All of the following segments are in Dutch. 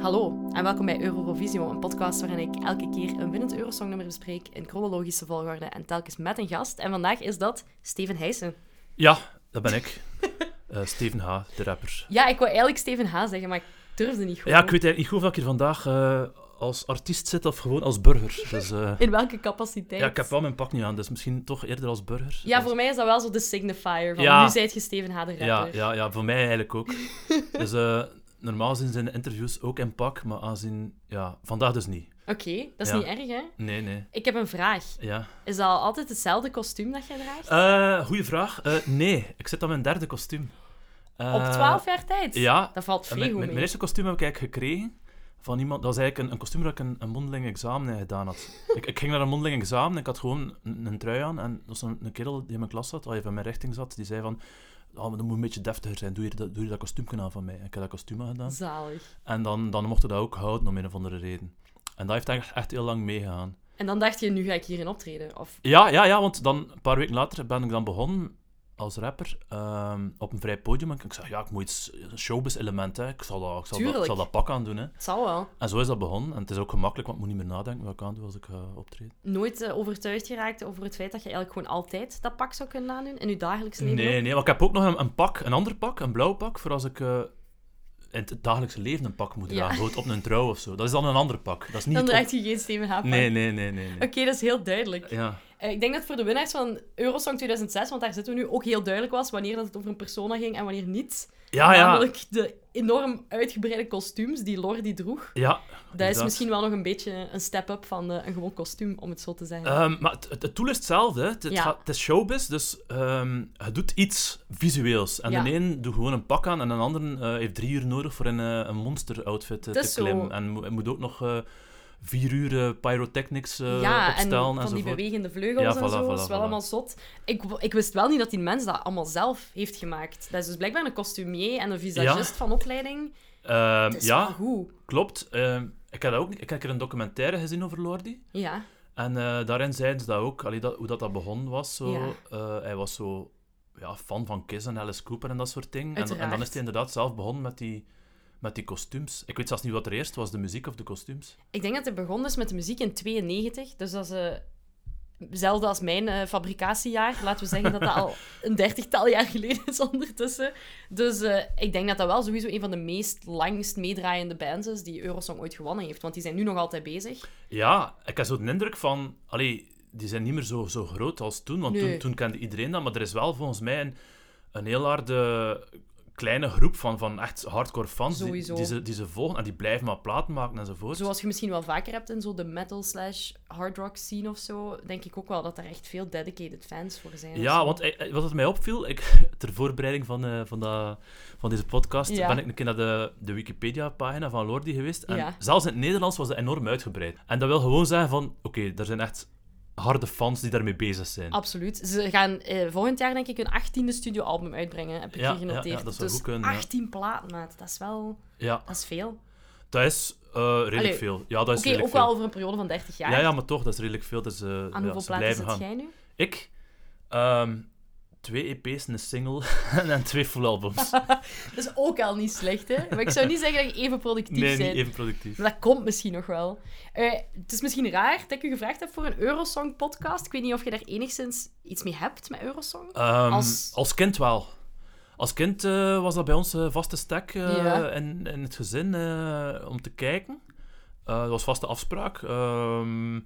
Hallo en welkom bij Eurovisio, een podcast waarin ik elke keer een winnend Eurosongnummer bespreek in chronologische volgorde en telkens met een gast. En vandaag is dat Steven Heijsen. Ja, dat ben ik. Eh, Steven H., de rapper. Ja, ik wou eigenlijk Steven H. zeggen, maar ik durfde niet gewoon. Ja, ik weet eigenlijk niet goed of ik hier vandaag eh, als artiest zit of gewoon als burger. Dus, eh, In welke capaciteit? ja, ik heb wel mijn pak niet aan, dus misschien toch eerder als burger. Ja, Als- voor mij is dat wel zo de signifier van Ja. nu zijt je Steven H. de rapper. ja, ja, ja, voor mij eigenlijk ook. dus eh, normaal gezien zijn de interviews ook in pak, maar aanzien... Ja, vandaag dus niet. Oké, dat is Ja. niet erg hè? Nee, nee. Ik heb een vraag. Ja. Is dat al altijd hetzelfde kostuum dat jij draagt? Eh goeie vraag. Eh, nee, ik zit aan mijn derde kostuum. Eh, Op 12 jaar tijd? Ja, Dat valt En vrij Mijn, goed mijn, mee. mijn eerste kostuum heb ik eigenlijk gekregen van iemand. Dat was eigenlijk een, een kostuum dat ik een, een mondeling examen in gedaan had. ik, ik ging naar een mondeling examen en ik had gewoon een, een trui aan. En er was een, een kerel die in mijn klas zat, die van mijn richting zat, die zei van... Oh, maar dat moet een beetje deftiger zijn. Doe je dat, doe hier dat kostuum aan van mij? En ik heb dat kostuum aan gedaan. Zalig. En dan, dan mocht je dat ook houden, om een of andere reden. En dat heeft eigenlijk echt heel lang meegegaan. En dan dacht je, nu ga ik hierin optreden. Of Ja, ja, ja, want dan, een paar weken later ben ik dan begonnen als rapper ehm, op een vrij podium. En ik zei, ja, ik moet iets showbiz-element, hè. Ik zal dat, ik zal dat, ik Tuurlijk. zal dat pak aan doen, hè. het zal wel. En zo is dat begonnen. En het is ook gemakkelijk, want ik moet niet meer nadenken wat ik aan doe als ik eh, optreed. nooit eh, overtuigd geraakt over het feit dat je eigenlijk gewoon altijd dat pak zou kunnen aandoen in je dagelijks leven? Nee, ook? nee, maar ik heb ook nog een, een pak, een ander pak, een blauw pak, voor als ik eh, in het dagelijks leven een pak moet Ja. dragen. Bijvoorbeeld op een trouw of zo. Dat is dan een ander pak. Dat is niet Dan het draagt je geen Steven H. op- Nee, nee, nee, nee. nee. Oké, dat is heel duidelijk. Ja. Eh, ik denk dat voor de winnaars van Eurosong 2006, want daar zitten we nu, ook heel duidelijk was wanneer dat het over een persona ging en wanneer niet. Ah, Ja, ja. Namelijk de enorm uitgebreide kostuums die Lordi droeg. Ja, Dat is inderdaad. misschien wel nog een beetje een step-up van eh, een gewoon kostuum, om het zo te zeggen. Ehm, maar het, het, het doel is hetzelfde. hè. Het, het Ja. gaat- het is showbiz, dus ehm je doet iets visueels. En Ja. de een doet gewoon een pak aan en een ander eh, heeft drie uur nodig voor een, eh, een monster-outfit eh, Het is te klimmen. zo. En mo- moet ook nog eh, vier uur eh, pyrotechnics eh, ja, en opstellen van en die zo bewegende vleugels Ja, en voilà, zo. dat is voilà, wel voilà. allemaal zot. Ik, w- ik wist wel niet dat die mens dat allemaal zelf heeft gemaakt. Dat is dus blijkbaar een kostumier en een visagist Ja. van opleiding. Ehm, Dat is wel ja, goed. klopt. Ehm, ik had dat ook niet- Ik heb er een documentaire gezien over Lordi. Ja. En eh, daarin zeiden ze dat ook, allee, dat, hoe dat, dat begonnen was. Zo. Ja. Eh, hij was zo ja, fan van Kiss en Alice Cooper en dat soort dingen. En, en Uiteraard. dan is hij inderdaad zelf begonnen met die, met die kostuums. Ik weet zelfs niet wat er eerst was, de muziek of de kostuums. Ik denk dat hij begon dus met de muziek in 92. Dus dat is eh, hetzelfde als mijn eh, fabricatiejaar. Laten we zeggen dat dat al een dertigtal jaar geleden is ondertussen. Dus eh, ik denk dat dat wel sowieso een van de meest langst meedraaiende bands is die Eurosong ooit gewonnen heeft. Want die zijn nu nog altijd bezig. Ja, ik heb zo de indruk van... Allee, die zijn niet meer zo, zo groot als toen, want Nee. toen, toen kende iedereen dat. Maar er is wel volgens mij een, een heel harde kleine groep van, van echt hardcore fans die, Sowieso. die, ze, die ze volgen. En die blijven maar platen maken enzovoort. Zoals je misschien wel vaker hebt in zo de metal slash hard rock scene of zo, denk ik ook wel dat er echt veel dedicated fans voor zijn. of Ja, zo. want eh, eh, wat het mij opviel, ik, ter voorbereiding van, eh, van, dat- van deze podcast, Ja. ben ik een keer naar de, de Wikipedia-pagina van Lordi geweest. En Ja. zelfs in het Nederlands was dat enorm uitgebreid. En dat wil gewoon zeggen van, oké, er zijn echt harde fans die daarmee bezig zijn. Absoluut. Ze gaan eh, volgend jaar denk ik hun achttiende studioalbum uitbrengen, heb ik Ja, hier genoteerd. ja, ja, dat zou dus goed kunnen, ja. 18 platen, maat. Dat is wel... Ja, Dat is veel. dat is eh, redelijk Allee, veel. Ja, dat Oké, is ook redelijk wel veel. over een periode van 30 jaar. Ja, ja, maar toch, dat is redelijk veel. Dus, eh, ja, Aan hoeveel ze platen blijven zit gaan. jij nu? Ik? Ehm, twee EP's, en een single en twee full albums. Dat is ook al niet slecht, hè? Maar ik zou niet zeggen dat je even productief nee, niet bent. even productief. Maar dat komt misschien nog wel. Eh, het is misschien raar dat ik u gevraagd heb voor een Eurosong-podcast. Ik weet niet of je daar enigszins iets mee hebt met Eurosong. Ehm, Als- als... kind wel. Als kind eh, was dat bij ons eh, vaste stek eh, Ja. in, in het gezin eh, om te kijken. Eh, dat was vaste afspraak. Ehm,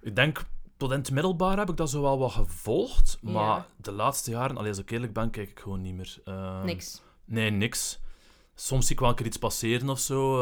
ik denk tot in het middelbaar heb ik dat zo wel wat gevolgd. Ja. Maar de laatste jaren, allee, als ik eerlijk ben, kijk ik gewoon niet meer. Ehm, Niks. Nee, niks. Soms zie ik wel een keer iets passeren of zo.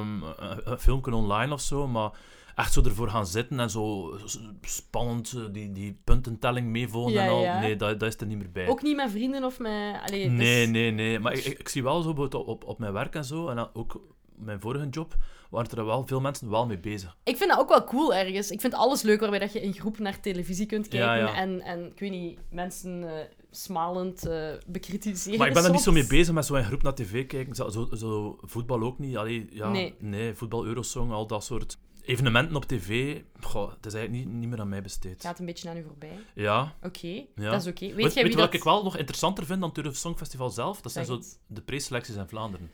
ehm, een, een filmpje online of zo. Maar echt zo ervoor gaan zitten en zo s- spannend eh, die, die puntentelling meevolgen Ja, en al. ja. Nee, dat, dat is er niet meer bij. Ook niet met vrienden of met... Allee, dus- Nee, nee, nee. Maar ik, ik, ik zie wel zo bijvoorbeeld op, op, op mijn werk en zo. En dan ook mijn vorige job. waren er wel veel mensen wel mee bezig. Ik vind dat ook wel cool ergens. Ik vind alles leuk waarbij dat je in groep naar televisie kunt kijken. Ja, ja. En, en, ik weet niet, mensen eh, smalend eh, bekritiseren Maar ik ben er niet zo soms. mee bezig met zo'n groep naar tv kijken. Zo, zo, zo voetbal ook niet. Allee, ja, Nee. nee. voetbal, Eurosong, al dat soort evenementen op tv. Goh, het is eigenlijk niet, niet meer aan mij besteed. Gaat een beetje aan u voorbij. Ja. Oké, Ja. dat is oké. Weet jij Weet, weet wie je wat dat... ik wel nog interessanter vind dan het Eurovisie Songfestival zelf? Dat zijn Zeg zo het. de preselecties in Vlaanderen.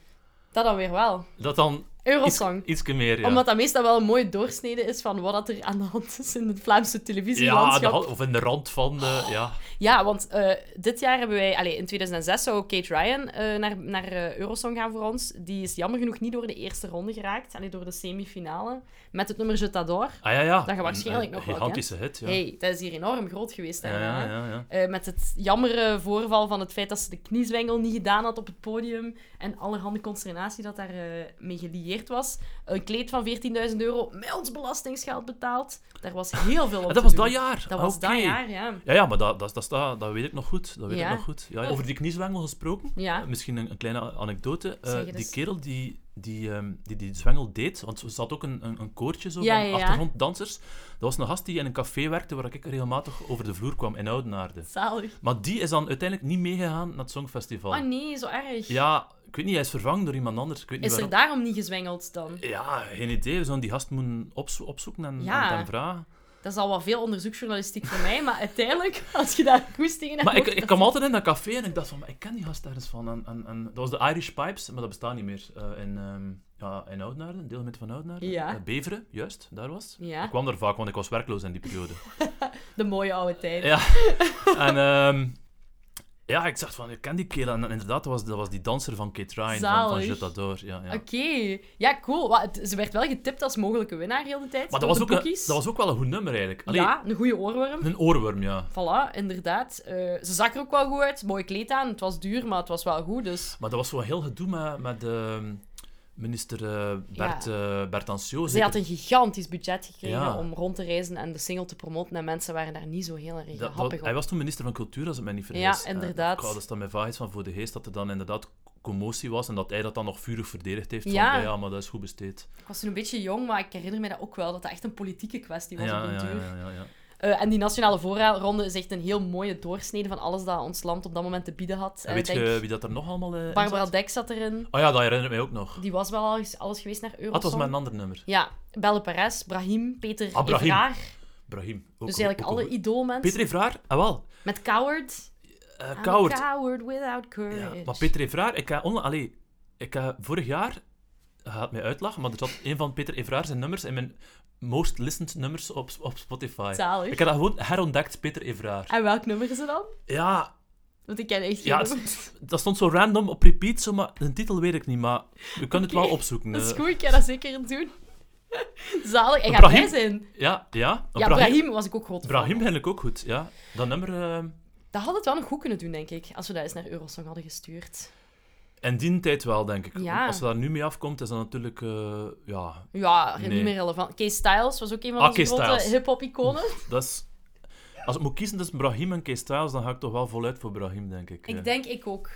Dat dan weer wel. Dat dan Eurosong. Iets meer, ja. Omdat dat meestal wel een mooi doorsnede is van wat dat er aan de hand is in het Oh. Vlaamse ja, televisielandschap. de hand- of in de rand van de... Ja. Ja, want eh, dit jaar hebben wij... Allee, in 2006 zou Kate Ryan eh, naar, naar eh, Eurosong gaan voor ons. Die is jammer genoeg niet door de eerste ronde geraakt. Allee, door de semifinale. Met het nummer Je t'adore. Ah ja, ja. Dat je waarschijnlijk een, nog een wel gigantische hit, ja. hey, dat is hier enorm groot geweest. ja, daarna, ja, hè. ja, ja. Eh, met het jammere voorval van het feit dat ze de kniezwengel niet gedaan had op het podium. En allerhande consternatie dat daar eh, mee gelieerd was. Een kleed van 14.000 euro met ons belastingsgeld betaald. Daar was heel veel op Ah, te dat was doen. dat jaar. Ah, Dat was Oké. dat jaar, ja. Ja, ja maar dat, dat, dat, dat, dat weet ik nog goed. Dat weet Ja. ik nog goed. Ja, ja. Over die kniezwengel gesproken, Ja. Ah, misschien een, een kleine anekdote. Eh, Zeg het die eens. kerel die die, ehm, die die zwengel deed, want er zat ook een, een, een koortje zo Ja, van ja, ja. achtergronddansers. Dat was een gast die in een café werkte waar ik regelmatig over de vloer kwam in Oudenaarde. Zalig. Maar die is dan uiteindelijk niet meegegaan naar het Songfestival. Oh nee, zo erg. Ja, ik weet niet, hij is vervangen door iemand anders. Ik weet niet Is er waarom. daarom niet gezwengeld dan? Ja, geen idee. We zouden die gast moeten opzo- opzoeken en, Ja. en hem vragen. Dat is al wel veel onderzoeksjournalistiek voor mij, maar uiteindelijk, als je daar goestingen hebt... Maar ik, ook- ik kwam altijd in dat café en ik dacht van, maar ik ken die gast ergens van. En, en, en dat was de Irish Pipes, maar dat bestaat niet meer. eh, in, ehm ja, in Oudenaarde, een deelgemeente van Oudenaarde. Ja. Eh, Beveren, juist, daar was het. Ja. Ik kwam daar vaak, want ik was werkloos in die periode. De mooie oude tijd. Ja. en ehm, ja, ik dacht van, ik ken die kerel. En inderdaad, dat was, dat was die danser van Kate Ryan, van, van Zalig. Jutta Door. Ja, ja. Oké. Ja, cool. Wa- het- ze werd wel getipt als mogelijke winnaar heel de tijd. Maar dat door was, de ook een, boekies. dat was ook wel een goed nummer, eigenlijk. Allee, Ja, een goede oorworm. Een oorworm, ja. Voilà, inderdaad. Eh, ze zag er ook wel goed uit. Mooi kleed aan. Het was duur, maar het was wel goed, dus... Maar dat was zo'n heel gedoe met, met ehm, minister eh, Bert, eh, Bert Anciot. Ze zeker. had een gigantisch budget gekregen Ja. om rond te reizen en de single te promoten. En mensen waren daar niet zo heel erg Dat- dat- happig op. hij was toen minister van Cultuur, als ik mij niet vergis. Ja, En inderdaad. Ik had dus dan mijn vaagheid van voor de geest dat er dan inderdaad commotie was en dat hij dat dan nog vurig verdedigd heeft. Van, Ja. ja, maar dat is goed besteed. Ik was toen een beetje jong, maar ik herinner me dat ook wel, dat dat echt een politieke kwestie was op ja, den ja, duur. ja, ja, ja. Eh, en die nationale voorronde is echt een heel mooie doorsnede van alles dat ons land op dat moment te bieden had. En Eh, weet denk, je wie dat er nog allemaal eh, in Barbara zat? Dek zat erin. Oh ja, dat herinner ik mij ook nog. Die was wel al eens- alles geweest naar Ah, het was Eurosong. met een ander nummer. Ja, Belle Perez, Brahim, Peter Ah, Brahim. Evraar. Brahim. Ook, Dus ook- eigenlijk ook- alle ook- idoolmensen. Peter Evraar? Ah, wel. Met Coward. Eh, I'm a Coward. coward without courage. Ja, maar Peter Evraar, ik ga onla- Allee, ik ga vorig jaar, hij gaat mij uitlachen, maar er zat een van Peter Evraar zijn nummers in mijn most listened nummers op, op Spotify. Zalig. Ik heb dat gewoon herontdekt, Peter Evraar. En welk nummer is het dan? Ja, Want ik ken echt geen ja het- nummer. het- dat stond zo random op repeat, zo, maar de titel weet ik niet, maar je kunt het Oké, wel opzoeken. Dat is eh. goed, ik ga dat zeker doen. Zalig, en gaat Brahim? blij zijn. Ja, ja. Ja, Brahim was ik ook groot fan. Brahim vind ik ook goed, ja. Dat nummer... eh, Dat had het wel nog goed kunnen doen, denk ik, als we dat eens naar Eurosong hadden gestuurd. in die tijd wel, denk ik. Ja. Als ze daar nu mee afkomt, is dat natuurlijk... eh, ja, Ja, Nee. niet meer relevant. Kees Styles was ook een van Ah, onze Kees grote Styles. hip-hop-iconen. Dat is... Als ik moet kiezen tussen Brahim en Kees Styles, dan ga ik toch wel voluit voor Brahim, denk ik. eh. Ik denk ik ook.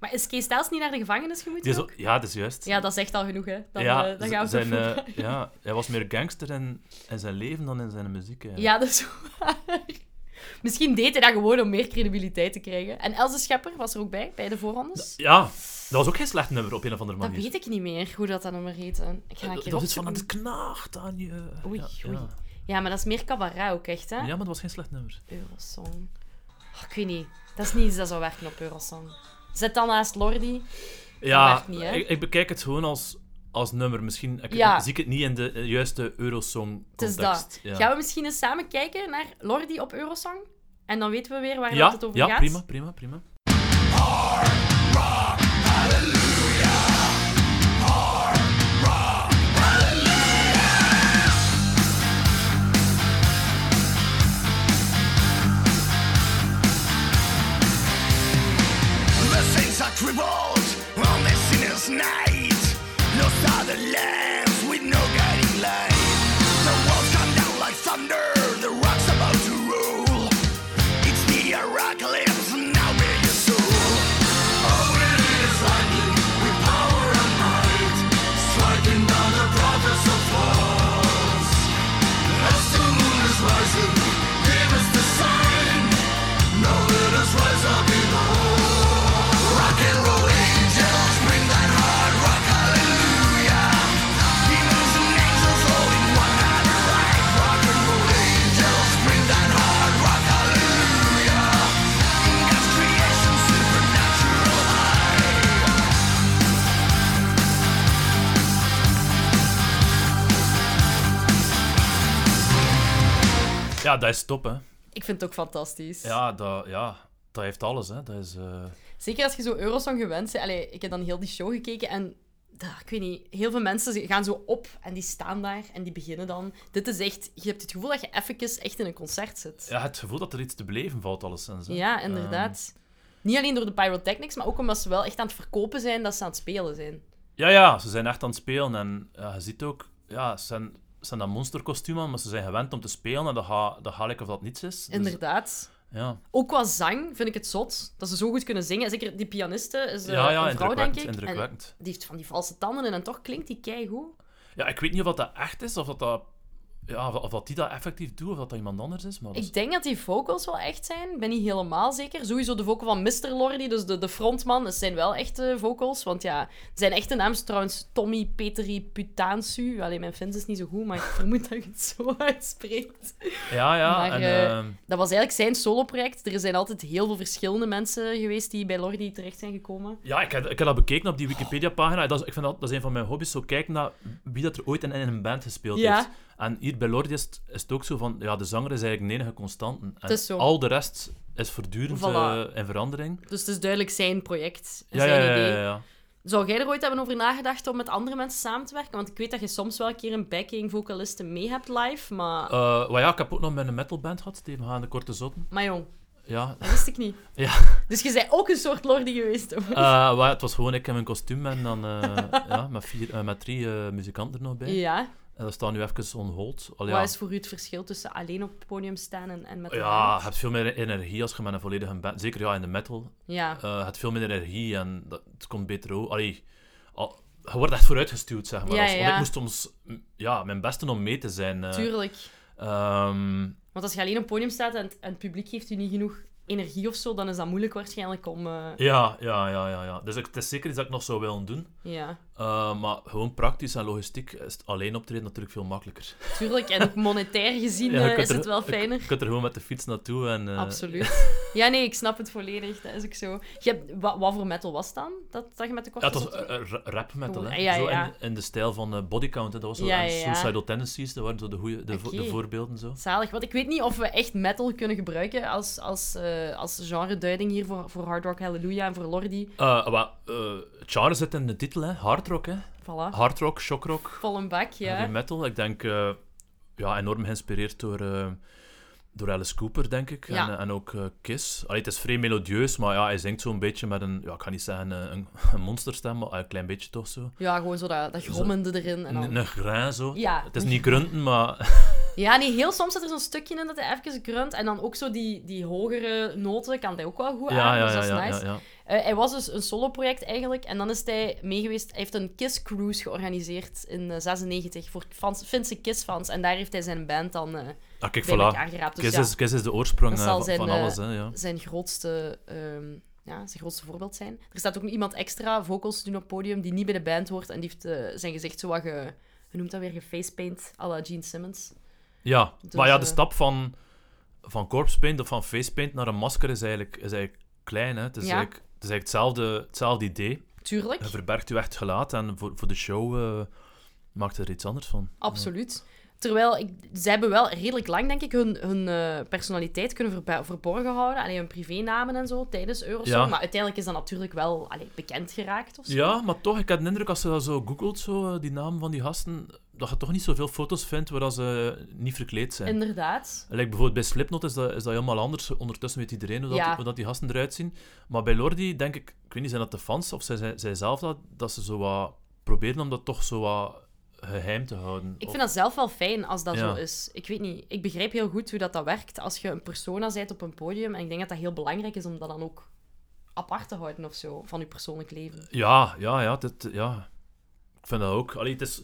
Maar is Kees Styles niet naar de gevangenis Die gemoeten? is al- Ja, dat is juist. Ja, dat is echt al genoeg, hè. Dan, Ja, eh, dan gaan we zijn, zo eh, voorbij. ja, hij was meer gangster in, in zijn leven dan in zijn muziek. eh. eigenlijk. Ja, dat is waar. Misschien deed hij dat gewoon om meer credibiliteit te krijgen. En Elze Schepper was er ook bij, bij de voorrondes. Ja, dat was ook geen slecht nummer op een of andere Dat manier. weet ik niet meer, hoe dat dan nummer heet. hè. Ik ga een dat keer dat is van, opzoeken. het knaagt aan je. Oei, ja, oei. Ja. Ja, maar dat is meer cabaret ook, echt, hè? ja, maar dat was geen slecht nummer. Eurosong. Oh, ik weet niet. Dat is niet iets dat zou werken op Eurosong. Zet dan naast Lordi. Ja, werkt niet, hè? ik, ik bekijk het gewoon als, als nummer. Misschien ik, Ja. zie ik het niet in de eh, juiste Het is Eurosong-context. dat. Ja, Gaan we misschien eens samen kijken naar Lordi op Eurosong? En dan weten we weer waar ja, het over ja gaat. prima, prima, prima. The saints are crippled on the sinner's night. Lost are the lambs with no guiding light. The walls come down like thunder, the rock's about to roll. It's the Heraclips, now we're your soul. Oh, it is lightning with power and might, striking down the prophets of false. As the moon is rising, give us the sign. Now let us rise up in Rock and roll angels, bring that hard rock, hallelujah. ja, dat is top, hè. Ik vind het ook fantastisch. Ja, dat, ja, dat heeft alles, hè. Dat is... eh, Zeker als je zo Eurosong gewend bent. Allee, ik heb dan heel die show gekeken en... daar, ik weet niet, heel veel mensen ze gaan zo op en die staan daar en die beginnen dan. Dit is echt... Je hebt het gevoel dat je even echt in een concert zit. ja, het gevoel dat er iets te beleven valt, alleszins. Hè. Ja, inderdaad. Ehm. Niet alleen door de pyrotechnics, maar ook omdat ze wel echt aan het verkopen zijn dat ze aan het spelen zijn. Ehm, Ja, ja, ze zijn echt aan het spelen. En ja, je ziet ook, ja, ze zijn, ze zijn dat monsterkostuum aan, maar ze zijn gewend om te spelen. En dat ga, dat ga ik of dat niets is. Dus, Inderdaad. ja. Ook qua zang vind ik het zot dat ze zo goed kunnen zingen. Zeker die pianiste is eh, ja, ja, een vrouw, denk indrukwekkend. ik. En indrukwekkend. die heeft van die valse tanden en dan toch klinkt die keigoed. Ja, ik weet niet of dat echt is, of dat, dat, ja, of, of dat die dat effectief doet, of dat dat iemand anders is. Maar dat is- Ik denk dat die vocals wel echt zijn. Ik ben niet helemaal zeker. Sowieso de vocal van Mr. Lordy, dus de, de frontman, dat zijn wel echte vocals. Want ja, zijn echte naam is trouwens Tommy Petri Putansu. Alleen mijn Fins is niet zo goed, maar ik vermoed dat je het zo uitspreekt. Ja, ja. Maar, en, eh, ehm, Dat was eigenlijk zijn soloproject. Er zijn altijd heel veel verschillende mensen geweest die bij Lordi terecht zijn gekomen. ja, ik heb, ik heb dat bekeken op die Wikipedia-pagina. Dat is, ik vind dat, dat is een van mijn hobby's, zo kijken naar wie dat er ooit in, in een band gespeeld Ja. heeft. En hier bij Lordi is, het- is het ook zo van, ja, de zanger is eigenlijk de enige constante. En Het is zo. al de rest is voortdurend Voilà. eh, in verandering. Dus het is duidelijk zijn project en Ja, ja, zijn ja, idee. ja, ja. Zou jij er ooit hebben over nagedacht om met andere mensen samen te werken? Want ik weet dat je soms wel een keer een backing vocaliste mee hebt live, maar... Eh, maar ja, ik heb ook nog met een metalband gehad, Steven Haan de Korte Zotten. Maar jong, Ja, dat wist ik niet. ja. Dus je bent ook een soort lordy geweest, hoor. Eh, maar het was gewoon ik in mijn kostuum en dan eh, ja, met, vier, eh, met drie eh, muzikanten er nog bij. ja. En dat staat nu even on hold. Al ja, Wat is voor u het verschil tussen alleen op het podium staan en, en met een ja, je band? hebt veel meer energie als je met een volledige band... Zeker ja, in de metal. Ja. Eh je hebt veel meer energie en dat, het komt beter ook. Allee, al- je wordt echt vooruitgestuurd, zeg maar. Ja, als, want ja. ik moest soms mm, ja, mijn best doen om mee te zijn. eh. Tuurlijk. Ehm, Want als je alleen op het podium staat en, het- en het publiek geeft u niet genoeg energie of zo, dan is dat moeilijk waarschijnlijk om... eh, ja, ja, ja, ja, ja. Dus ik- het is zeker iets dat ik nog zou willen doen. ja. Eh, maar gewoon praktisch en logistiek is het alleen optreden natuurlijk veel makkelijker. Tuurlijk, en ook monetair gezien Ja, eh, je kunt is er- het wel fijner. Je kunt er gewoon met de fiets naartoe en... eh, Absoluut. Ja, nee, ik snap het volledig. Dat is ook zo. Je hebt, wa- wat voor metal was het dan? Dat, dat je met de Ja, korte het was zot- eh, eh, ra- rap metal, hè. Gewoon- ja, Zo ja. in, in de stijl van eh, bodycount, hè. dat was zo. Ja, ja, en ja. Suicidal Tendencies, dat waren zo de, goeie, de, vo- de Oké. voorbeelden zo. Zalig, want ik weet niet of we echt metal kunnen gebruiken als, als, eh, als genre-duiding hier voor, voor Hard Rock Hallelujah en voor Lordi. Eh maar, eh, het genre zit in de titel, hè. Hard rock, hè. Voilà. Hard rock, shock rock, Vol een bak, ja. heavy metal. Ik denk, eh, ja, enorm geïnspireerd door, eh, door Alice Cooper, denk ik. Ja. En, eh, en ook eh, Kiss. Allee, het is vrij melodieus, maar ja, hij zingt zo'n beetje met een... Ja, ik ga niet zeggen eh, een, een monsterstem, maar eh, een klein beetje toch zo. Ja, gewoon zo dat, dat grommende erin. En dan... Een, een grain, zo. Ja. Ah, Het is niet grunten, maar... Ja, nee, heel soms zit er zo'n stukje in dat hij even grunt. En dan ook zo die, die hogere noten kan hij ook wel goed aan. dus dat is nice. ja. Eh, hij was dus een soloproject eigenlijk. En dan is hij meegeweest. Hij heeft een Kiss Cruise georganiseerd in eh, 96 voor fans, Finse Kiss-fans. En daar heeft hij zijn band dan eh, Ah, kijk, bij elkaar voilà. geraapt. Dus Kiss, ja, is, Kiss is de oorsprong Dat eh, zal van, zijn, van eh, alles, hè. Ja. zijn, grootste, ehm, ja, zijn grootste voorbeeld zijn. Er staat ook nog iemand extra vocals te doen op het podium die niet bij de band hoort. En die heeft eh, zijn gezicht zo wat ge... Hoe noemt dat weer? Gefacepaint, à la Gene Simmons. ja. dus, maar ja, de eh, stap van, van corpse paint of van face paint naar een masker is eigenlijk, is eigenlijk klein, hè. Het is, Ja. eigenlijk, het is eigenlijk hetzelfde, hetzelfde idee. Tuurlijk. Je verbergt je echt gelaat en voor, voor de show eh, maakt er iets anders van. Absoluut. Terwijl, ik, ze hebben wel redelijk lang, denk ik, hun, hun eh, personaliteit kunnen verbe- verborgen houden. Alleen hun privénamen en zo, tijdens Eurosong. Ja. Maar uiteindelijk is dat natuurlijk wel allee, bekend geraakt of zo. Ja, maar toch, ik had de indruk als je dat zo googelt, zo, eh, die naam van die gasten, dat je toch niet zoveel foto's vindt waar dat ze niet verkleed zijn. Inderdaad. Like bijvoorbeeld bij Slipknot is dat, is dat helemaal anders. Ondertussen weet iedereen hoe, dat, Ja. hoe dat die gasten eruit zien. Maar bij Lordi denk ik, ik weet niet, zijn dat de fans of zijn zij, zij zelf dat, dat ze zo wat proberen om dat toch zo wat geheim te houden. Ik Of- vind dat zelf wel fijn als dat Ja. zo is. Ik weet niet, ik begrijp heel goed hoe dat, dat werkt als je een persona bent op een podium. En ik denk dat dat heel belangrijk is om dat dan ook apart te houden of zo, van je persoonlijk leven. Ja, ja, ja, dit, ja. Ik vind dat ook. Allee, het, is,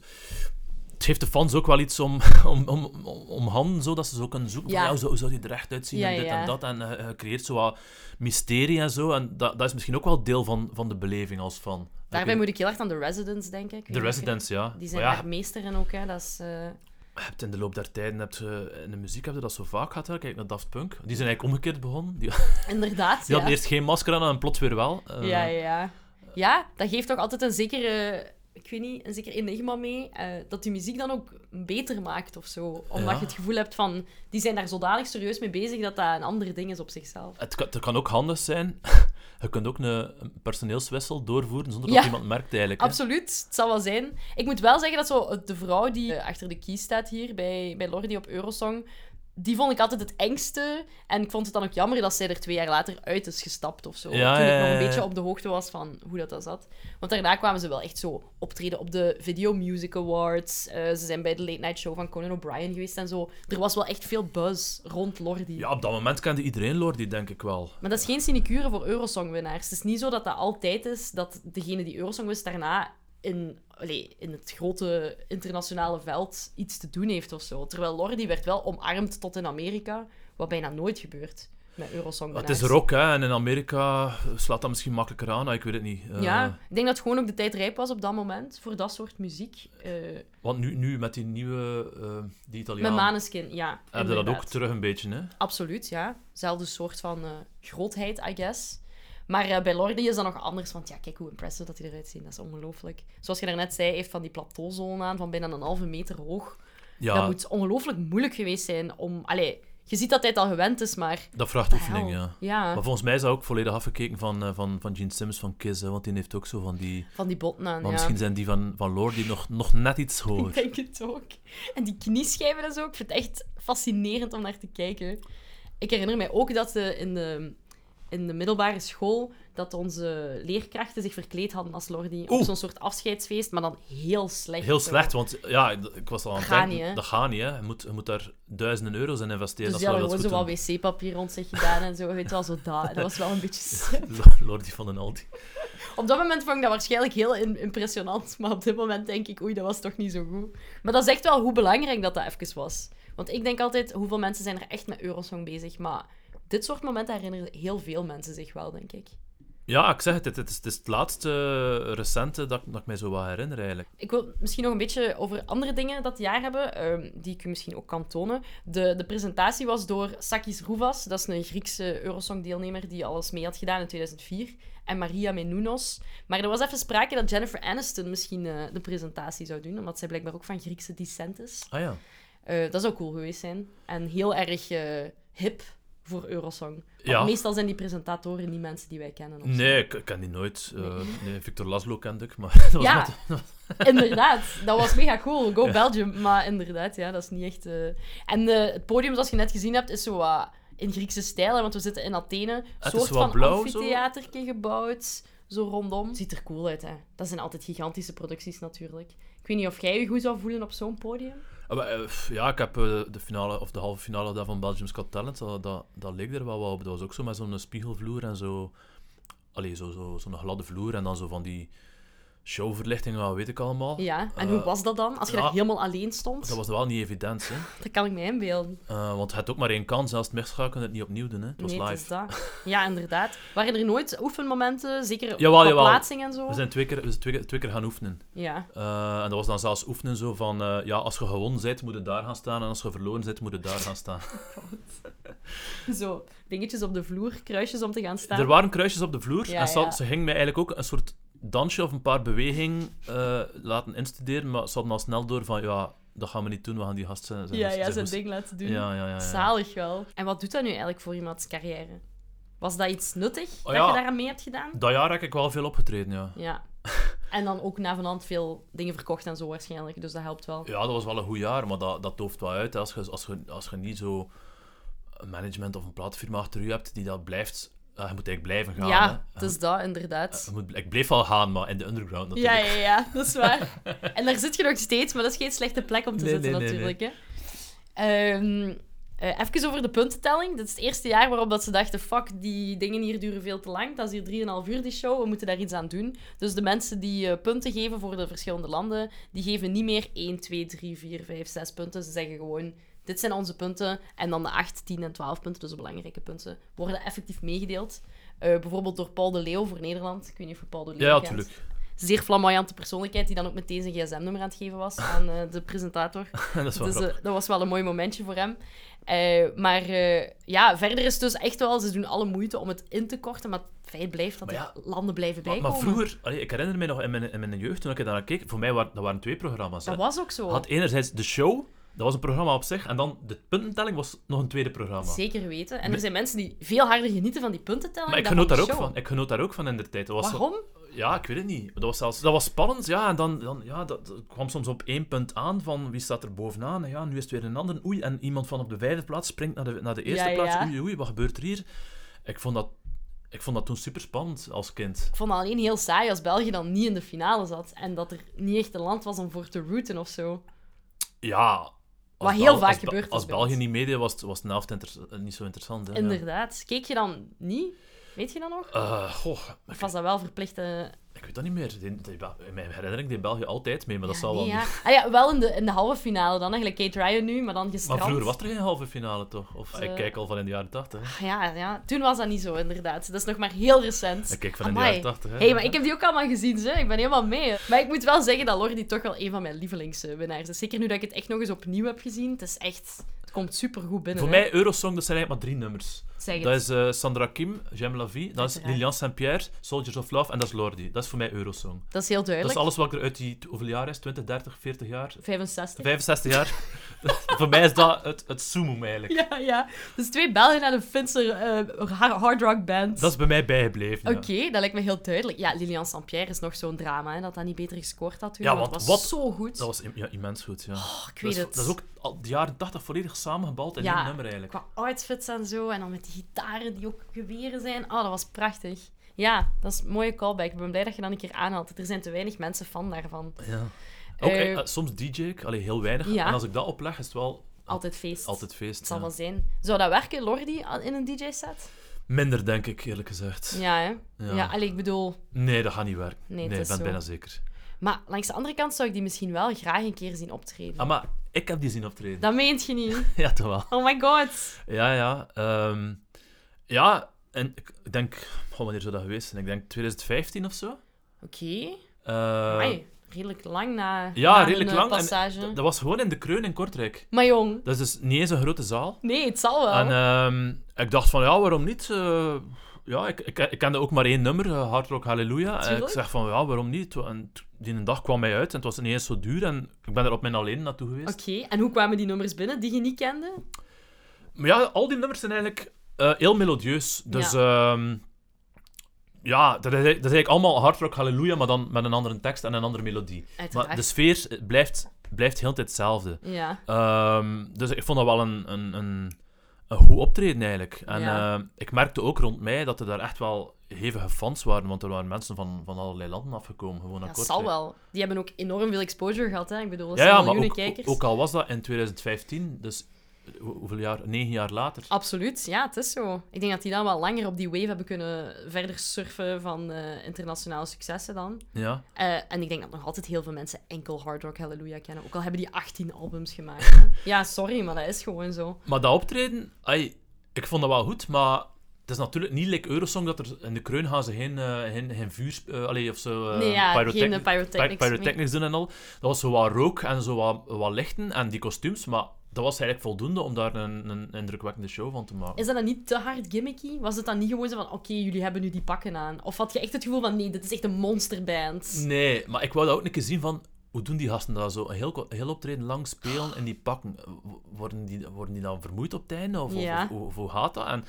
het geeft de fans ook wel iets om, om, om, om, om handen, zo, dat ze zo kunnen zoeken. Ja. Van, ja, hoe, zou, hoe zou die er echt uitzien Ja, en dit ja. en dat. En eh, je creëert zo wat mysterie en zo. En dat, dat is misschien ook wel deel van, van de beleving als fan. Daarbij moet ik heel erg aan The Residents denken. Ik weet De niet of je- Residents, ja. Die zijn Maar ja, daar meester in ook, hè. Dat is... eh, Je hebt in de loop der tijden, heb je, in de muziek heb je dat zo vaak gehad. hè. Kijk naar Daft Punk. Die zijn eigenlijk omgekeerd begonnen. Die, die Inderdaad, ja. hadden eerst geen masker aan en plots weer wel. Eh, Ja, ja, ja. Ja, dat geeft toch altijd een zekere ik weet niet, en zeker Enigma mee, eh, dat die muziek dan ook beter maakt of zo. Omdat Ja. je het gevoel hebt van, die zijn daar zodanig serieus mee bezig dat dat een ander ding is op zichzelf. Het kan, het kan ook handig zijn. Je kunt ook een, een personeelswissel doorvoeren zonder Ja. dat iemand merkt eigenlijk. hè. Absoluut, het zal wel zijn. Ik moet wel zeggen dat zo het- de vrouw die eh, achter de key staat hier bij, bij Lordi op Eurosong, die vond ik altijd het engste. En ik vond het dan ook jammer dat zij er twee jaar later uit is gestapt of zo. Ja, toen ja, ik nog ja, een ja. beetje op de hoogte was van hoe dat, dat zat. Want daarna kwamen ze wel echt zo optreden op de Video Music Awards. Eh, ze zijn bij de Late Night Show van Conan O'Brien geweest en zo. Er was wel echt veel buzz rond Lordi. Ja, op dat moment kende iedereen Lordi, denk ik wel. Maar dat is geen sinecure voor Eurosong-winnaars. Het is niet zo dat dat altijd is dat degene die Eurosong wist daarna in, allee, in het grote internationale veld iets te doen heeft of zo. Terwijl Lordi werd wel omarmd tot in Amerika, wat bijna nooit gebeurt met Eurosong-winnaars. Het is rock, hè, en in Amerika slaat dat misschien makkelijker aan, ik weet het niet. Eh, Ja, ik denk dat gewoon ook de tijd rijp was op dat moment voor dat soort muziek. Eh, Want nu, nu met die nieuwe, eh die Met Italiaan, Maneskin, ja. heb je dat ook inderdaad. terug een beetje, hè? Absoluut, ja. Zelfde soort van eh, grootheid, I guess. Maar eh, bij Lordi is dat nog anders, want ja, kijk hoe impressive dat hij eruit ziet. Dat is ongelooflijk. Zoals je daarnet zei, hij heeft van die plateauzone aan van bijna een halve meter hoog. Ja, Dat dat, moet ongelooflijk moeilijk geweest zijn om... Allee, je ziet dat hij het al gewend is, maar... vraagt oefening, ja. Ja, Maar volgens mij is dat ook volledig afgekeken van, eh, van, van Gene Simmons van Kiss, hè, want die heeft ook zo van die... van die botten aan, Maar ja. misschien zijn die van, van Lordi nog, nog net iets Ik hoger. denk het ook. En die knieschijven en zo, ik vind het echt fascinerend om naar te kijken. Ik herinner mij ook dat ze in de, in de middelbare school dat onze leerkrachten zich verkleed hadden als Lordi. Op Oeh. zo'n soort afscheidsfeest, maar dan heel slecht. Heel zo. slecht, want ja, d- ik was al aan het Dat gaat denken, niet, hè? dat gaat niet, hè. Je moet, je moet daar duizenden euro's in investeren Dus die als hadden we dat gewoon zo goed wat doen. wc-papier rond zich gedaan en zo. Weet je wel, zo dat. En dat was wel een beetje... sick. Lordi van den Aldi. Op dat moment vond ik dat waarschijnlijk heel in- impressionant. Maar op dit moment denk ik, oei, dat was toch niet zo goed. Maar dat is echt wel hoe belangrijk dat dat even was. Want ik denk altijd, hoeveel mensen zijn er echt met Eurosong bezig? Maar dit soort momenten herinneren heel veel mensen zich wel, denk ik. Ja, ik zeg het, het, het is, het is het laatste eh, recente dat, ik- dat ik mij zo wat herinner, eigenlijk. Ik wil misschien nog een beetje over andere dingen dat jaar hebben, ehm, die ik u misschien ook kan tonen. De, de presentatie was door Sakis Rouvas, dat is een Griekse Eurosong-deelnemer die alles mee had gedaan in 2004, en Maria Menounos. Maar er was even sprake dat Jennifer Aniston misschien eh, de presentatie zou doen, omdat zij blijkbaar ook van Griekse descent is. Ah ja. Eh, dat zou cool geweest zijn. En heel erg eh, hip voor Eurosong. Want Ja. meestal zijn die presentatoren niet mensen die wij kennen. of zo. Nee, ik ik ken die nooit. Eh, nee. Victor Laszlo kende ik, maar dat was Ja. net- Inderdaad, dat was mega cool. Go Belgium. Maar inderdaad, ja, dat is niet echt. eh. En eh, het podium, zoals je net gezien hebt, is zo wat in Griekse stijl. hè, Want we zitten in Athene. Een Ah, Het is soort wat van blauw, zo. amfitheaterke gebouwd. Zo rondom. Ziet er cool uit, hè? Dat zijn altijd gigantische producties natuurlijk. Ik weet niet of jij je goed zou voelen op zo'n podium. Ah, maar, eh, pff, Ja, ik heb eh, de finale of de halve finale daar van Belgium's Got Talent, dat, dat, dat leek er wel wat op. Dat was ook zo met zo'n spiegelvloer en zo. Allee, zo'n zo, zo'n gladde vloer en dan zo van die showverlichtingen, wat weet ik allemaal. Ja. En Eh, hoe was dat dan? Als je ja. daar helemaal alleen stond? Dat was wel niet evident, hè. Dat kan ik me inbeelden. Eh, want je hebt ook maar één kans, zelfs het mixschaal kun je het niet opnieuw doen, hè. Het was nee, het is live. dat. Ja, inderdaad. Waren er nooit oefenmomenten? Zeker Jawel, qua jawel. plaatsing en zo? We zijn twee keer, we zijn twee keer, twee keer gaan oefenen. Ja. Eh, en dat was dan zelfs oefenen zo van, eh, ja, als je gewonnen bent, moet je daar gaan staan. En als je verloren bent, moet je daar gaan staan. Zo, dingetjes op de vloer, kruisjes om te gaan staan. Er waren kruisjes op de vloer. Ja, en ze, ja. ze ging mij eigenlijk ook een soort dansje of een paar bewegingen eh, laten instuderen. Maar ze hadden al snel door van, ja, dat gaan we niet doen. We gaan die gast zijn, zijn- ja, ja, zijn zijn- ding laten doen. Ja, ja, ja. ja. Zalig wel. En wat doet dat nu eigenlijk voor iemands carrière? Was dat iets nuttig dat Oh ja. je daaraan mee hebt gedaan? Dat jaar heb ik wel veel opgetreden, ja. Ja. En dan ook na van hand veel dingen verkocht en zo waarschijnlijk, dus dat helpt wel. Ja, dat was wel een goed jaar, maar dat, dat dooft wel uit. hè. Als je, als, je, als je niet zo een management of een plaatfirma achter je hebt die dat blijft... ja, je moet eigenlijk blijven gaan. hè. Ja, Je het is dat, inderdaad. moet- je moet, ik bleef wel gaan, maar in de underground Ja, natuurlijk. ja, ja, dat is waar. En daar zit je nog steeds, maar dat is geen slechte plek om te Nee, zitten, nee, nee, natuurlijk. Hè. Ehm, eh, even over de puntentelling. Dit is het eerste jaar waarop dat ze dachten: fuck, die dingen hier duren veel te lang. Dat is hier 3,5 uur, die show. We moeten daar iets aan doen. Dus de mensen die eh, punten geven voor de verschillende landen, die geven niet meer 1, 2, 3, 4, 5, 6 punten. Ze zeggen gewoon: dit zijn onze punten. En dan de 8, 10 en 12 punten, dus de belangrijke punten, worden effectief meegedeeld. Eh, bijvoorbeeld door Paul de Leeuw voor Nederland. Ik weet niet of je Paul de Leeuw Ja, kent tuurlijk. zeer flamboyante persoonlijkheid die dan ook meteen zijn gsm-nummer aan het geven was aan eh, de presentator. dat is wel Dus eh, grappig. dat was wel een mooi momentje voor hem. Eh, maar eh, ja, verder is het dus echt wel... Ze doen alle moeite om het in te korten, maar het feit blijft dat Maar ja, er landen blijven Maar, bijkomen. maar vroeger, allee, ik herinner me nog in mijn, in mijn jeugd, toen ik daar naar keek, voor mij waren, dat waren twee programma's. Dat hè. was ook zo. had enerzijds de show, dat was een programma op zich, en dan de puntentelling was nog een tweede programma. Zeker weten. En Maar- er zijn mensen die veel harder genieten van die puntentelling Maar ik dan genoot van daar de ook show. van. Ik genoot daar ook van in de tijd. Dat was zo- Waarom? ja, ik weet het niet. Dat was, zelfs, dat was spannend, ja. En dan, dan ja, dat, dat kwam soms op één punt aan van wie staat er bovenaan. En Ja, nu is het weer een ander. Oei, en iemand van op de vijfde plaats springt naar de, naar de eerste Ja, plaats. ja. Oei, oei, wat gebeurt er hier? Ik vond dat, ik vond dat toen super spannend als kind. Ik vond het alleen heel saai als België dan niet in de finale zat. En dat er niet echt een land was om voor te rooten of zo. Ja. Wat als heel Bel- vaak als Be- gebeurt, dat Als bij België ons. niet meedeed, was, het- was de helft inter- eh, niet zo interessant. Hè, ja. Inderdaad. Keek je dan niet? Weet je dat nog? Eh, goh, Of was dat wel verplichte... Ik weet dat niet meer. Die- die- in mijn herinnering deed België altijd mee, maar dat zal wel ja. niet. Ah ja, wel in de, in de halve finale dan. Eigenlijk Kate Ryan nu, maar dan Maar gestrand. vroeger was er geen halve finale, toch? Of Eh. ik kijk al van in de jaren 80. Ah Ja, ja, toen was dat niet zo, inderdaad. Dat is nog maar heel recent. Ik kijk van in de Amai. jaren 80, hè. hey, maar ik heb die ook allemaal gezien, ze. Ik ben helemaal mee. Maar ik moet wel zeggen dat Lordi toch wel een van mijn lievelingswinnaars is. Zeker nu dat ik het echt nog eens opnieuw heb gezien. Het is echt... Het komt supergoed binnen. Voor hè. mij, Eurosong, dat zijn eigenlijk maar drie nummers. Zeg het. Dat is eh, Sandra Kim, J'aime la vie, dat is Uiteraard. Lilian Saint-Pierre, Soldiers of Love en dat is Lordi. Dat is voor mij Eurosong. Dat is heel Dat is duidelijk. alles wat er uit die, hoeveel jaar is? 20, 30, 40 jaar? 65. 65 jaar? voor mij is dat het, het summum eigenlijk. Ja, ja. Dus twee Belgen en een Finse eh, ha- hard rock band. Dat is bij mij bijgebleven. ja. Oké, dat lijkt me heel duidelijk. Ja, Lilian Saint-Pierre is nog zo'n drama, hè, dat dat niet beter gescoord had toen. Ja, maar het want was wat- zo goed. Dat was im- ja, immens goed, ja. Oh, ik weet dat, het. is, dat is ook al de jaren 80 volledig samengebald in Ja. één nummer eigenlijk. Qua outfits en zo, en dan met die gitaren die ook geweren zijn. Oh, dat was prachtig. Ja, dat is een mooie callback. Ik ben blij dat je dat een keer aanhaalt. Er zijn te weinig mensen fan daarvan. Ja. Ook, Eh, eh, eh, soms DJ ik, allee, heel weinig. Ja. En als ik dat opleg, is het wel Altijd feest. altijd feest. Het zal ja. wel zijn. Zou dat werken, Lordi, al- in een DJ-set? Minder, denk ik, eerlijk gezegd. Ja, hè? Ja, Ja. allee, ik bedoel... Nee, dat gaat niet werken. Nee, Nee, het ik is ben zo. bijna zeker. Maar langs de andere kant zou ik die misschien wel graag een keer zien optreden. Ah, maar ik heb die zien optreden. Dat meent je niet. Ja, toch wel. Oh my god. Ja, ja. ehm, ja, en ik ik denk... Goh, wanneer zou dat geweest zijn? Ik denk 2015 of zo. Oké. Eh, Amai, Redelijk lang na, na ja, een, redelijk eh, lang. En passage. d- dat was gewoon in de Kreun in Kortrijk. Maar jong, Dat is dus niet eens een grote zaal. nee, het zal wel. En ehm, ik dacht van, ja, waarom niet? Eh, ja, ik, ik, ik kende ook maar één nummer, eh, Hard Rock Hallelujah. En ik Tuurlijk. zeg van, ja, waarom niet? En t- die een dag kwam mij uit en het was niet eens zo duur. En ik ben er op mijn alleen naartoe geweest. Oké, en hoe kwamen die nummers binnen die je niet kende? Maar ja, al die nummers zijn eigenlijk eh, heel melodieus. Dus ja, ja dat, is, dat is eigenlijk allemaal Hard Rock Hallelujah, maar dan met een andere tekst en een andere melodie. Uiteraard. Maar de sfeer eh, blijft, blijft heel de tijd hetzelfde. Ja, Ehm, dus ik vond dat wel een, een, een, een goed optreden eigenlijk. En Ja. ehm, ik merkte ook rond mij dat er daar echt wel hevige fans waren, want er waren mensen van, van allerlei landen afgekomen. Gewoon naar dat Kortrijk. zal wel. Die hebben ook enorm veel exposure gehad, hè. Ik bedoel, dat Ja, zijn ja maar miljoenen ook, kijkers. ook al was dat in 2015, dus hoe- hoeveel jaar? Negen jaar later. Absoluut, ja, het is zo. Ik denk dat die dan wel langer op die wave hebben kunnen verder surfen van eh, internationale successen dan. Ja. Eh, en ik denk dat nog altijd heel veel mensen enkel Hard Rock Hallelujah kennen. Ook al hebben die 18 albums gemaakt. hè. ja, sorry, maar dat is gewoon zo. Maar dat optreden, ai, ik vond dat wel goed, maar het is natuurlijk niet like Eurosong dat er in de kreun gaan ze geen, eh, geen, geen vuur... eh, allee, of zo, eh, Nee, ja, pyrotechni- geen, eh, pyrotechnics py- pyrotechnics doen en al. Dat was zo wat rook en zo wat, wat lichten en die kostuums, maar dat was eigenlijk voldoende om daar een, een indrukwekkende show van te maken. Is dat dan niet te hard gimmicky? Was het dan niet gewoon zo van, oké, jullie hebben nu die pakken aan? Of had je echt het gevoel van, nee, dit is echt een monsterband? Nee, maar ik wou dat ook een keer zien van... Hoe doen die gasten dat zo? Een heel, ko- een heel optreden lang spelen en die pakken. W- Worden die, worden die dan vermoeid op het einde? Of, of- Ja. of- of hoe gaat dat? En,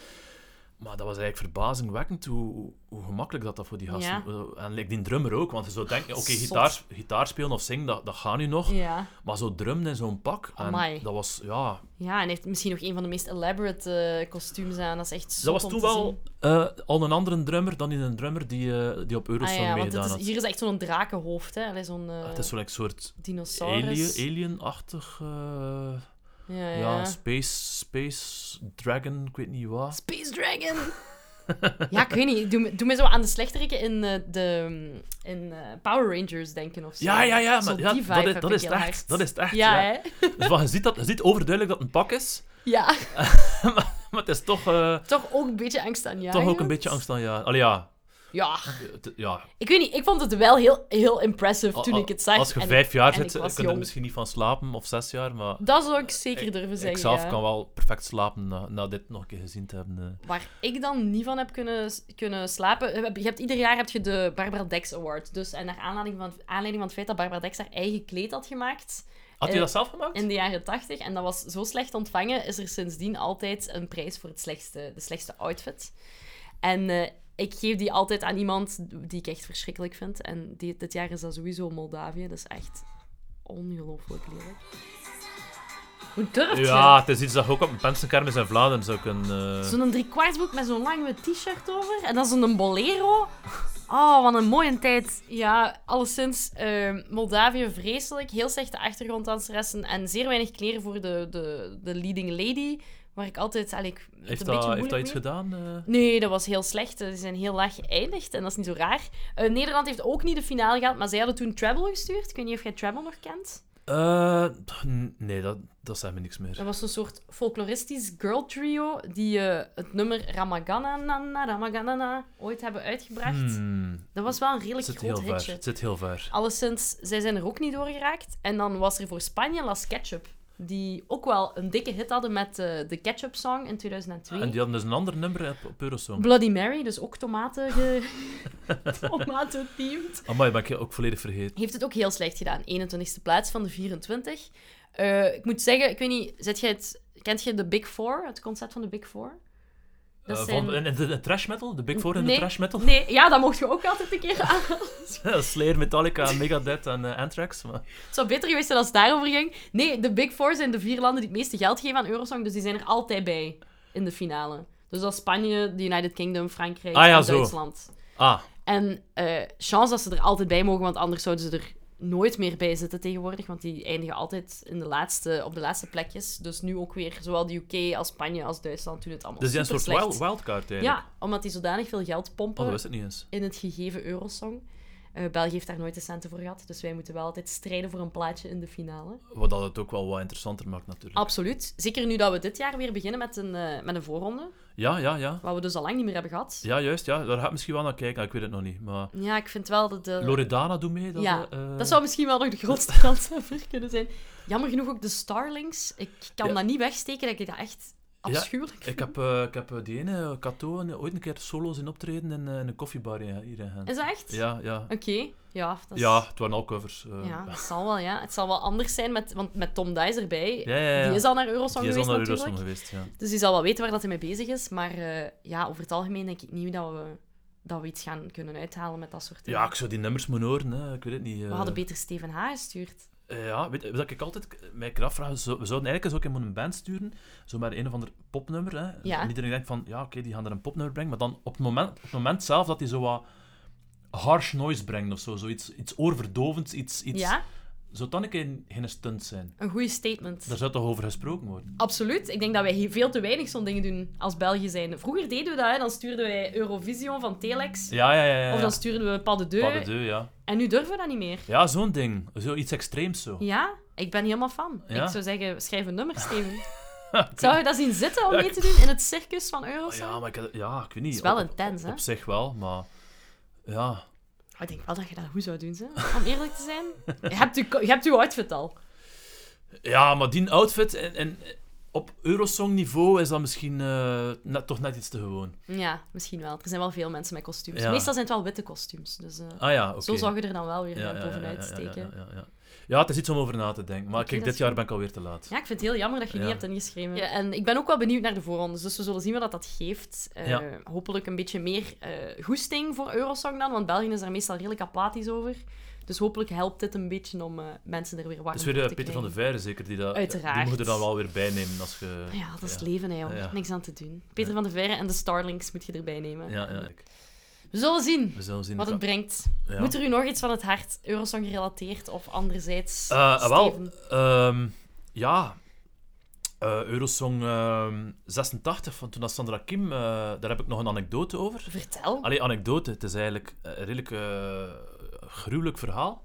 maar dat was eigenlijk verbazingwekkend hoe, hoe- hoe gemakkelijk dat, dat voor die gasten... En like, die drummer ook, want je zou denken... Oké, Zot. gitaar, gitaar spelen of zingen, dat, dat gaat nu nog. Ja. Maar zo drummen in zo'n pak... En Amai. dat was, ja... Ja, en heeft misschien nog een van de meest elaborate eh, kostuums aan. Dat is echt zot Dat was om toen te wel zien. eh, al een andere drummer dan die een drummer die, eh, die op Eurosong Ah ja, want meegedaan het is- had. Ah, hier is echt zo'n drakenhoofd, hè. Allee, zo'n eh, Het is zo'n soort alien- dinosaurus. alien-achtig... eh, Ja, ja. Ja, Space, Space Dragon, ik weet niet wat. Space Dragon! ja, ik weet niet. Doe, me- doe me zo aan de slechterikken in, eh, de, in eh, Power Rangers denken of zo. Ja, ja, ja, Zo maar ja, die vibe dat, is, heb dat, ik is het heel echt, hard. dat is het echt. Ja, Ja, hè? Dus van, je, ziet dat, je ziet overduidelijk dat het een pak is, Ja. maar het is toch, eh, Toch ook een beetje angst aan jou. toch ook een beetje angst aan ja. Allee, ja. Ja, Het- Ja, ik weet niet. Ik vond het wel heel, heel impressive toen a- ik het zag. Als je en vijf ik- jaar en zit, ik was kun je er jong. misschien niet van slapen, of zes jaar, maar Dat zou ik zeker durven zeggen. ik zelf ja. kan wel perfect slapen na, na dit nog een keer gezien te hebben. eh. Waar ik dan niet van heb kunnen, kunnen slapen. Je hebt, je hebt- ieder jaar heb je de Barbara Dex Award. Dus, en naar aanleiding van, aanleiding van het feit dat Barbara Dex haar eigen kleed had gemaakt Had je Eh, dat zelf gemaakt? in de jaren 80. En dat was zo slecht ontvangen, is er sindsdien altijd een prijs voor het slechtste, de slechtste outfit. En eh, ik geef die altijd aan iemand die ik echt verschrikkelijk vind. En die, dit jaar is dat sowieso Moldavië. Dat is echt ongelooflijk lelijk. Hoe durf je? Ja, het is iets dat je ook op een pensenkermis in Vlaanderen zou kunnen... eh, Zo'n driekwartsbroek met zo'n lange t-shirt over. En dan zo'n bolero. Oh, wat een mooie tijd. Ja, alleszins eh, Moldavië vreselijk. Heel slechte achtergronddanseressen. En zeer weinig kleren voor de, de, de leading lady. Waar ik altijd... allee, ik, het Heeft een dat, beetje heeft dat moeilijk iets mee. gedaan? eh? Nee, dat was heel slecht. Ze zijn heel laag geëindigd en dat is niet zo raar. Eh, Nederland heeft ook niet de finale gehaald, maar zij hadden toen Treble gestuurd. Ik weet niet of jij Treble nog kent. Eh, t- n- nee, dat, dat zegt me niks meer. Dat was een soort folkloristisch girl trio die eh, het nummer Ramaganana, Ramaganana ooit hebben uitgebracht. Hmm, Dat was wel een het redelijk zit groot heel ver. hitje. Het zit heel ver. Alleszins, zij zijn er ook niet doorgeraakt. En dan was er voor Spanje Las Ketchup, die ook wel een dikke hit hadden met eh, de Ketchup Song in 2002. En die hadden dus een ander nummer op, op Eurosong. Bloody Mary, dus ook tomaten ge... tomaten-themed. Amai, ben ik je ook volledig vergeten. Heeft het ook heel slecht gedaan. 21ste plaats van de 24. Eh, ik moet zeggen, ik weet niet, zet jij het, kent je de Big Four, het concept van de Big Four? Eh, Dat zijn- van, en, en de, de trash metal? De Big Four en Nee, de trash metal? Nee, ja, dat mocht je ook altijd een keer aan. Slayer, Metallica, Megadeth en eh, Anthrax. Maar... Het zou beter geweest zijn als het daarover ging. Nee, de Big Four zijn de vier landen die het meeste geld geven aan Eurosong, dus die zijn er altijd bij in de finale. Dus dat is Spanje, de United Kingdom, Frankrijk Ah ja, en zo. Duitsland. Ah, En eh, chance dat ze er altijd bij mogen, want anders zouden ze er nooit meer bij zitten tegenwoordig, want die eindigen altijd in de laatste, op de laatste plekjes. Dus nu ook weer, zowel de UK als Spanje als Duitsland doen het allemaal dus die een soort superslecht. wild, wildcard eigenlijk. Ja, omdat die zodanig veel geld Oh, pompen dat wist ik niet eens. in het gegeven Eurosong. Eh, België heeft daar nooit de centen voor gehad, dus wij moeten wel altijd strijden voor een plaatje in de finale. Wat dat het ook wel wat interessanter maakt natuurlijk. Absoluut. Zeker nu dat we dit jaar weer beginnen met een, eh, met een voorronde, Ja, ja, ja. wat we dus al lang niet meer hebben gehad. Ja, juist. Ja. Daar ga ik misschien wel naar kijken. Ik weet het nog niet. Maar Ja, ik vind wel dat de... Loredana doet mee. Dat, ja, eh, dat zou misschien wel nog de grootste kanshebber kunnen zijn. Jammer genoeg ook de Starlings. Ik kan Ja. dat niet wegsteken, dat ik dat echt afschuwelijk Ik vind. heb, eh, ik heb eh, die ene, eh, Kato, een- ooit een keer solo zien optreden in, eh, in een koffiebar ja, hier in Gent. Is dat echt? Ja, ja. Oké. Ja, dat is- Ja, het waren al covers. eh. Ja, dat zal wel, ja. Het zal wel anders zijn, met, want met Tom Dice erbij. Ja, ja, ja. Die is al naar Eurosong Die is al geweest naar natuurlijk. Eurosong geweest, ja. Dus die zal wel weten waar dat hij mee bezig is. Maar eh, ja, over het algemeen denk ik niet dat we, dat we iets gaan kunnen uithalen met dat soort dingen. Ja, ik zou die nummers moeten horen, hè. ik weet het niet. eh. We hadden beter Steven H. gestuurd. Eh, ja, weet, weet dat ik altijd k- mij kan afvragen, zo, we zouden eigenlijk eens ook iemand een band sturen, zo maar een of ander popnummer. Hè. Ja. En iedereen denkt van, ja, oké, die gaan er een popnummer brengen, maar dan op het moment, op het moment zelf dat die zo wat harsh noise brengt of zo, zoiets iets oorverdovends, iets... iets Ja, Zou dan een keer geen stunt zijn? een goede statement. Daar zou toch over gesproken worden? Absoluut. Ik denk dat wij hier veel te weinig zo'n dingen doen als België zijn. Vroeger deden we dat, hè. dan stuurden wij Eurovision van Telex. Ja, ja, ja. ja, ja. Of dan stuurden we Pas de Deux. Pas de deux, ja. En nu durven we dat niet meer. Ja, zo'n ding. Zoiets extreems zo. Ja, ik ben helemaal fan. Ja? Ik zou zeggen, schrijf een nummer, Steven. Zou je dat zien zitten om Ja, mee ik- te doen in het circus van Eurosong? Ja, maar ik, ja, ik weet niet. Het is wel Op- op- intens, hè? Op zich wel, maar... Ja. Oh, Ik denk wel dat je dat goed zou doen, ze. om eerlijk te zijn. Je hebt je, je hebt uw outfit al. Ja, maar die outfit en, en op Eurosong-niveau is dat misschien eh, net, toch net iets te gewoon. Ja, misschien wel. Er zijn wel veel mensen met kostuums. Ja. Meestal zijn het wel witte kostuums. Dus eh, Ah ja, oké. zo zou je er dan wel weer Ja, eh, ja, ja, ja, bovenuit ja, steken. Ja, Ja, ja, ja. Ja, het is iets om over na te denken. Maar Oké, kijk, dat dit is jaar goed. ben ik alweer te laat. ik vind het heel jammer dat je Ja. niet hebt ingeschreven. Ja, en ik ben ook wel benieuwd naar de voorrondes. Dus we zullen zien wat dat geeft. Eh, Ja. Hopelijk een beetje meer eh, goesting voor Eurosong dan. Want België is daar meestal redelijk apathisch over. Dus hopelijk helpt dit een beetje om eh, mensen er weer warm Het is voor weer eh, te Peter van der krijgen. Veijden zeker die dat... Uiteraard. Die moet er dan wel weer bij nemen als je... Ja, dat is het leven, hè, jongen. Ja. Niks aan te doen. Peter van der Verre en de Starlings moet je erbij nemen. Ja, ja. We zullen zien We zullen zien. wat het brengt. Ja. Moet er u nog iets van het hart, Eurosong gerelateerd of anderzijds? Eh, eh, wel, Steven? ehm, ja. Eh, Eurosong ehm, 86, van toen dat Sandra Kim, eh, daar heb ik nog een anekdote over. Vertel. Allee, anekdote, het is eigenlijk eh, een redelijk eh, gruwelijk verhaal.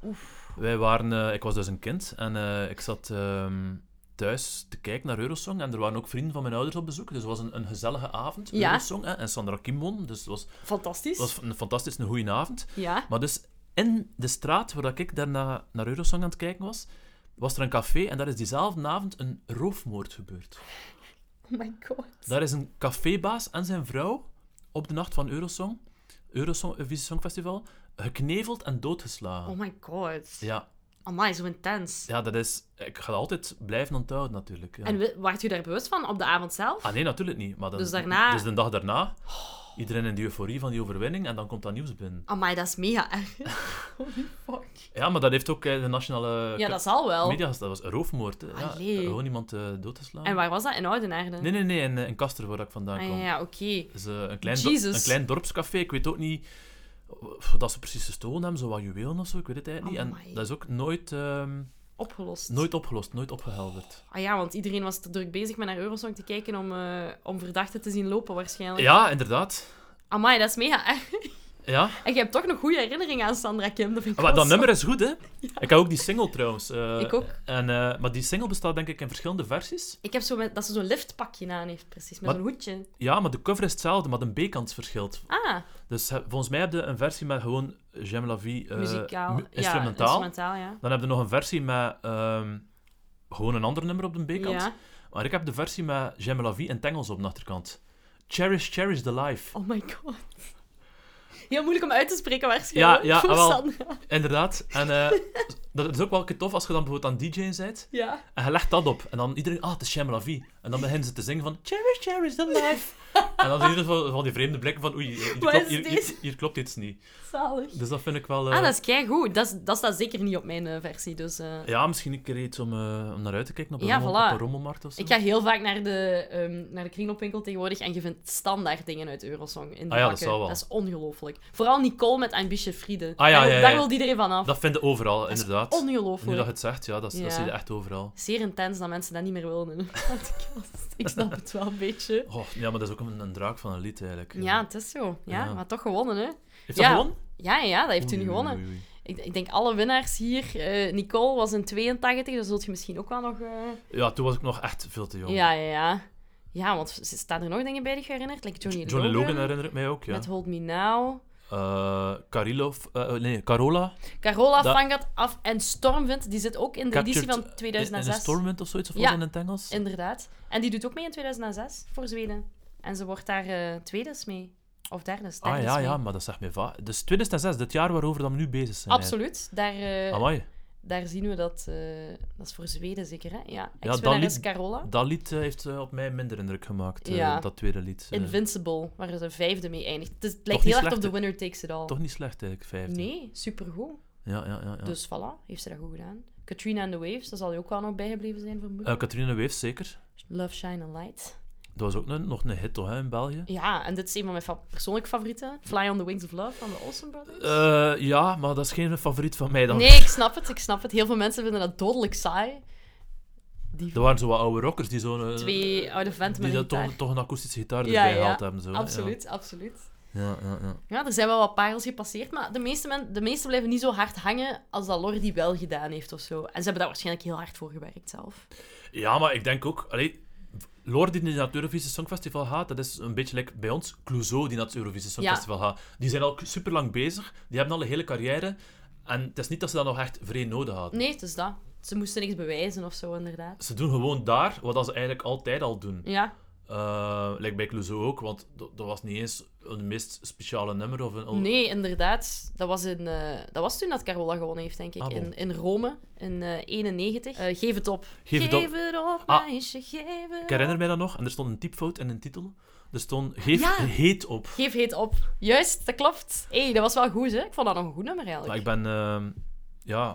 Wij waren, eh, ik was dus een kind en eh, ik zat ehm, thuis te kijken naar Eurosong. En er waren ook vrienden van mijn ouders op bezoek. Dus het was een, een gezellige avond. Ja. Eurosong hè, en Sandra Kim won. Dus het was, Fantastisch. het was een fantastisch een goede avond. Ja. Maar dus in de straat waar dat ik daarna naar Eurosong aan het kijken was, was er een café en daar is diezelfde avond een roofmoord gebeurd. Oh my god. Daar is een cafébaas en zijn vrouw op de nacht van Eurosong, Eurosong eh, Eurovisie Songfestival, gekneveld en doodgeslagen. Oh my god. Ja, Amai, zo intens. ja, dat is... Ik ga dat altijd blijven onthouden, natuurlijk. Ja. En we- waart u daar bewust van op de avond zelf? Ah nee, natuurlijk niet. Maar dan, Dus daarna- Oh. dus de dag daarna, iedereen in de euforie van die overwinning en dan komt dat nieuws binnen. Amai, dat is mega erg. Holy fuck. Ja, maar dat heeft ook eh, de nationale Ja, dat zal wel. media... Dat was een roofmoord, hè. Ja, Allee. gewoon iemand eh, dood te slaan. En waar was dat? In Oudenaarde? Nee, nee, nee, in, eh, in Kaster, waar ik vandaan kom. Ah, ja, oké. Het is eh, een, klein do- Jesus. een klein dorpscafé. Ik weet ook niet of dat ze precies gestolen hebben, zo wat juwelen of zo, ik weet het eigenlijk niet. Amai. En dat is ook nooit, ehm, Opgelost. nooit opgelost, nooit opgehelderd. Ah ja, want iedereen was te druk bezig met naar Eurosong te kijken om, eh, om verdachten te zien lopen waarschijnlijk. Ja, inderdaad. Amai, dat is mega erg. Ja. En je hebt toch nog goede herinneringen aan Sandra Kim. Dat, vind ik Maar wel Ah, dat zo- nummer is goed, hè? Ik heb ook die single trouwens. eh, Ik ook. En, eh, maar die single bestaat denk ik in verschillende versies. Ik heb zo met, dat ze zo'n liftpakje aan heeft, precies. Met Wat? zo'n hoedje. Ja, maar de cover is hetzelfde, maar de B-kant verschilt. Ah, Dus eh, volgens mij heb je een versie met gewoon J'aime la vie eh, muzikaal. mu- Ja, instrumentaal. instrumentaal, ja. Dan heb je nog een versie met ehm, gewoon een ander nummer op de B-kant. Ja. Maar ik heb de versie met J'aime la vie en Tengels op de achterkant. Cherish, cherish the life. Oh my god. Heel moeilijk om uit te spreken waarschijnlijk. Ja, ja, voor wel. Sandra. Inderdaad. En eh, dat is ook wel een keer tof als je dan bijvoorbeeld aan DJ bent. Ja. En je legt dat op. En dan iedereen, ah, het is J'aime la vie. En dan beginnen ze te zingen van Cherish, cherish the life. en dan zie je dus van, van die vreemde blikken van, oei, hier Wat klopt, is hier, dit? hier, hier klopt iets niet. Zalig. Dus dat vind ik wel... eh, Ah, dat is keigoed. Dat, is- dat staat zeker niet op mijn eh, versie, dus... eh, Ja, misschien een keer iets om, eh, om naar uit te kijken op een, Ja, rommel- voilà. op een rommelmarkt of zo. Ik ga heel vaak naar de, ehm, naar de kringloopwinkel tegenwoordig en je vindt standaard dingen uit Eurosong in de Ah ja, dat bakken. zal wel. Dat is ongelooflijk. Vooral Nicole met Ambition Friede. Ah ja, daar, ja, ja, daar ja. wil iedereen van af. Dat vind je overal, inderdaad. Nu Ongelooflijk. dat je het zegt, ja, dat, is- dat Ja. zie je echt overal. Zeer intens dat mensen dat niet meer willen in een podcast. Ik snap het wel een beetje. Oh, ja, maar dat is ook een, een draak van een lied, eigenlijk. Ja, het is zo. Ja, Oh, Ja. maar toch gewonnen, hè? Heeft dat ja. gewonnen? Ja, ja, dat heeft u nu Oei, oei, gewonnen. oei, oei. Ik, ik denk alle winnaars hier. eh, Nicole was in 82, dus zult je misschien ook wel nog... eh, Ja, toen was ik nog echt veel te jong. Ja, ja, ja. Ja, want s- staan er nog dingen bij die je herinnert? Like Johnny, Johnny Logan herinner ik mij ook, ja. Met Hold Me Now. Eh, Carilo, eh, nee, Carola. Carola Dat- vangt af en Stormwind, die zit ook in de editie Captured van In, in 2006. een stormwind of zoiets, of Ja. was dat in het Engels? Inderdaad. En die doet ook mee in 2006 voor Zweden. En ze wordt daar eh tweedes mee. Of derdes. Ah derdes ja, mee. ja, maar dat zegt mij vaak. Dus 2006, dit jaar waarover dat we nu bezig zijn. Absoluut. Daar, eh, eigenlijk. Amai, daar zien we dat. eh, dat is voor Zweden zeker, hè? Ja. dan Ex-winnares liet- Carola. dat lied eh, heeft eh, op mij minder indruk gemaakt, eh, Ja. dat tweede lied. Eh, Invincible, waar ze vijfde mee eindigt. Het, is- het lijkt niet heel erg op slecht, The hè? Winner Takes It All. Toch niet slecht, eigenlijk, vijfde. nee, supergoed. Ja, ja, ja. ja. Dus voilà, heeft ze dat goed gedaan. Katrina and the Waves, daar zal je ook wel nog bijgebleven zijn, vermoedelijk. Eh, Catharina Weefs, zeker. Love, Shine and Light. Dat was ook een- nog een hit, toch, hè, in België? Ja, en dit is een van mijn fa- persoonlijke favorieten. Fly on the Wings of Love van de Olsen Brothers. Eh, ja, maar dat is geen favoriet van mij dan. Eh, nee, ik snap het, ik snap het. Heel veel mensen vinden dat dodelijk saai. Die Er waren zo wat oude rockers die zo'n... eh, twee oude venten met Die een dat toch, gitaar. toch een akoestische gitaar Ja, erbij ja, gehaald hebben. Zo, hè, ja. Absoluut, absoluut. Ja, ja, ja. Ja, er zijn wel wat parels gepasseerd, maar de meeste, men, de meeste blijven niet zo hard hangen als dat Lordi wel gedaan heeft of zo. En ze hebben daar waarschijnlijk heel hard voor gewerkt zelf. Ja, maar ik denk ook... Allee, Lorde die naar het Eurovisie Songfestival gaat, dat is een beetje like bij ons Clouseau die naar het Eurovisie Songfestival gaat. Die zijn al super lang bezig, die hebben al een hele carrière. En het is niet dat ze dat nog echt vreemd nodig hadden. Nee, het is dat. Ze moesten niks bewijzen of zo, inderdaad. Ze doen gewoon daar wat dat ze eigenlijk altijd al doen. Ja, Eh like bij Clouseau ook, want dat dat was niet eens een meest speciale nummer. Of een, nee, inderdaad. Dat was, in, eh, dat was toen dat Carola gewonnen heeft, denk ik. Ah, bon. in, in Rome, in eh 91. Eh, geef het op. Geef het op. Ah. meisje, geef het Ik herinner mij dat nog, en er stond een typfout in een titel. Er stond Geef Ah, Ja. heet op. Geef heet op. Juist, dat klopt. Hé, hey, dat was wel goed, hè? Ik vond dat nog een goed nummer, Maar eigenlijk. ik ben, ehm, ja,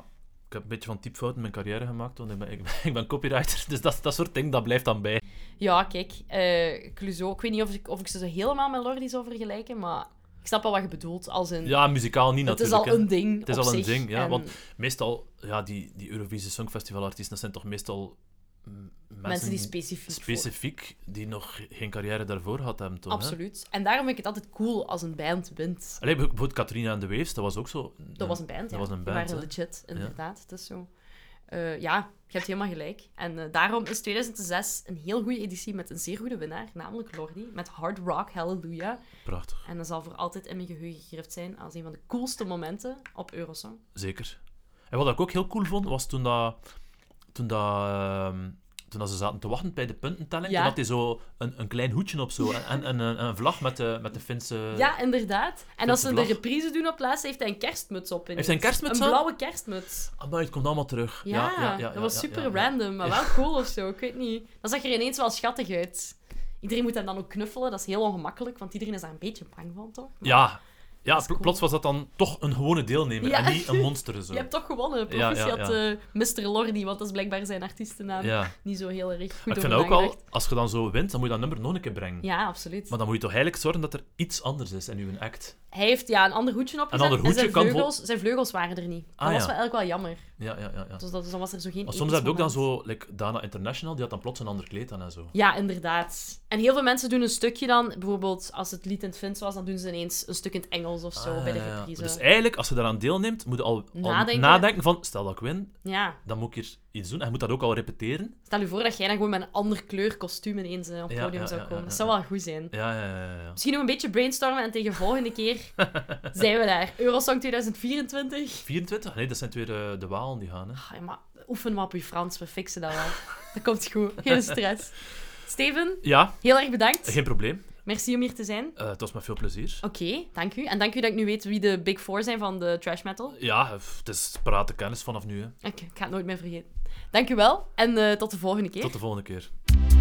ik heb een beetje van typfout in mijn carrière gemaakt, want ik ben, ik ben, ik ben copywriter, dus dat, dat soort dingen, dat blijft dan bij. Ja, kijk. eh Clouseau, ik weet niet of ik, of ik ze zo helemaal met Lordi zou vergelijken, maar ik snap wel wat je bedoelt. Als in, Ja, muzikaal niet Mm. het is natuurlijk. al hè. een ding Het is op al een zich. ding, ja, En want Meestal, ja, die, die Eurovisie Songfestivalartiesten, dat zijn toch meestal mm, mensen, mensen die specifiek... voor- specifiek die nog geen carrière daarvoor gehad hebben, toch? hè? Absoluut. En daarom vind ik het altijd cool als een band wint. Allee, bijvoorbeeld Katrina en de Waves, dat was ook zo. Dat was een band, Dat ja. was een Die band, waren hè. legit, inderdaad. Het is zo. Eh, eh, ja, je hebt helemaal gelijk. En eh, daarom is 2006 een heel goede editie met een zeer goede winnaar, namelijk Lordi, met Hard Rock Hallelujah. Prachtig. En dat zal voor altijd in mijn geheugen gegrift zijn als een van de coolste momenten op Eurosong. Zeker. En wat ik ook heel cool vond, was toen dat... Toen dat... ehm, toen dat ze zaten te wachten bij de puntentelling, Ja. toen had hij zo een, een klein hoedje op zo. En, en een, een vlag met de, met de Finse... ja, inderdaad. En als ze Eh, de vlag. reprise doen op laatst, heeft hij een kerstmuts op. ineens. hij een kerstmuts Een aan? blauwe kerstmuts. Amai, het komt allemaal terug. Ja, dat was ja, super ja, ja. random, maar wel cool of zo. Ik weet niet. Dat zag er ineens wel schattig uit. Iedereen moet hem dan ook knuffelen, dat is heel ongemakkelijk, want iedereen is daar een beetje bang van, toch? Maar Ja. Ja, is pl- cool. plots was dat dan toch een gewone deelnemer Ja. en niet een monster. Zo. Je hebt toch gewonnen, Ja, ja, proficiat ja. eh, Mr. Lordi, want dat is blijkbaar zijn artiestennaam. Ja. Niet zo heel erg goed Maar ik vind over ook wel, nagedacht. als je dan zo wint, dan moet je dat nummer nog een keer brengen. Ja, absoluut. Maar dan moet je toch eigenlijk zorgen dat er iets anders is in uw act. Hij heeft ja, een ander hoedje opgezet ander hoedje en zijn kan vol- vleugels, zijn vleugels waren er niet. Dat Ah, was wel ja. eigenlijk wel jammer. Ja, ja, ja. ja. Dus dat, dus dan was er zo geen Maar soms episch heb je ook dan moment. zo, like Dana International, die had dan plots een ander kleed aan en zo. Ja, inderdaad. En heel veel mensen doen een stukje dan, bijvoorbeeld als het lied in het Fins was, dan doen ze ineens een stuk in het Engels of zo bij de Ah, ja, ja. reprise. Dus eigenlijk, als je daaraan deelneemt, moet je al, al Nadenken. nadenken. van, stel dat ik win, Ja, dan moet ik hier iets doen. En je moet dat ook al repeteren. stel je voor dat jij dan gewoon met een ander kleur kostuum ineens eh, op het Ja, podium ja, zou ja, komen. ja, Dat ja, zou wel goed zijn. Ja, ja, ja. ja, ja. Misschien nog een beetje brainstormen en tegen volgende keer zijn we daar. Eurosong 2024. 24? Nee, dat zijn weer eh, de Walen die gaan. Hè. Ah, ja, maar oefen maar op je Frans, we fixen dat wel. Dat komt goed, geen stress. Steven, Ja, heel erg bedankt. geen probleem. Merci om hier te zijn. Eh, het was met veel plezier. Oké, dank u. En dank u dat ik nu weet wie de big four zijn van de trash metal. Oké, Ja, pff, het is parate kennis vanaf nu. Hè. ik ga het nooit meer vergeten. Dank u wel en eh, tot de volgende keer. Tot de volgende keer.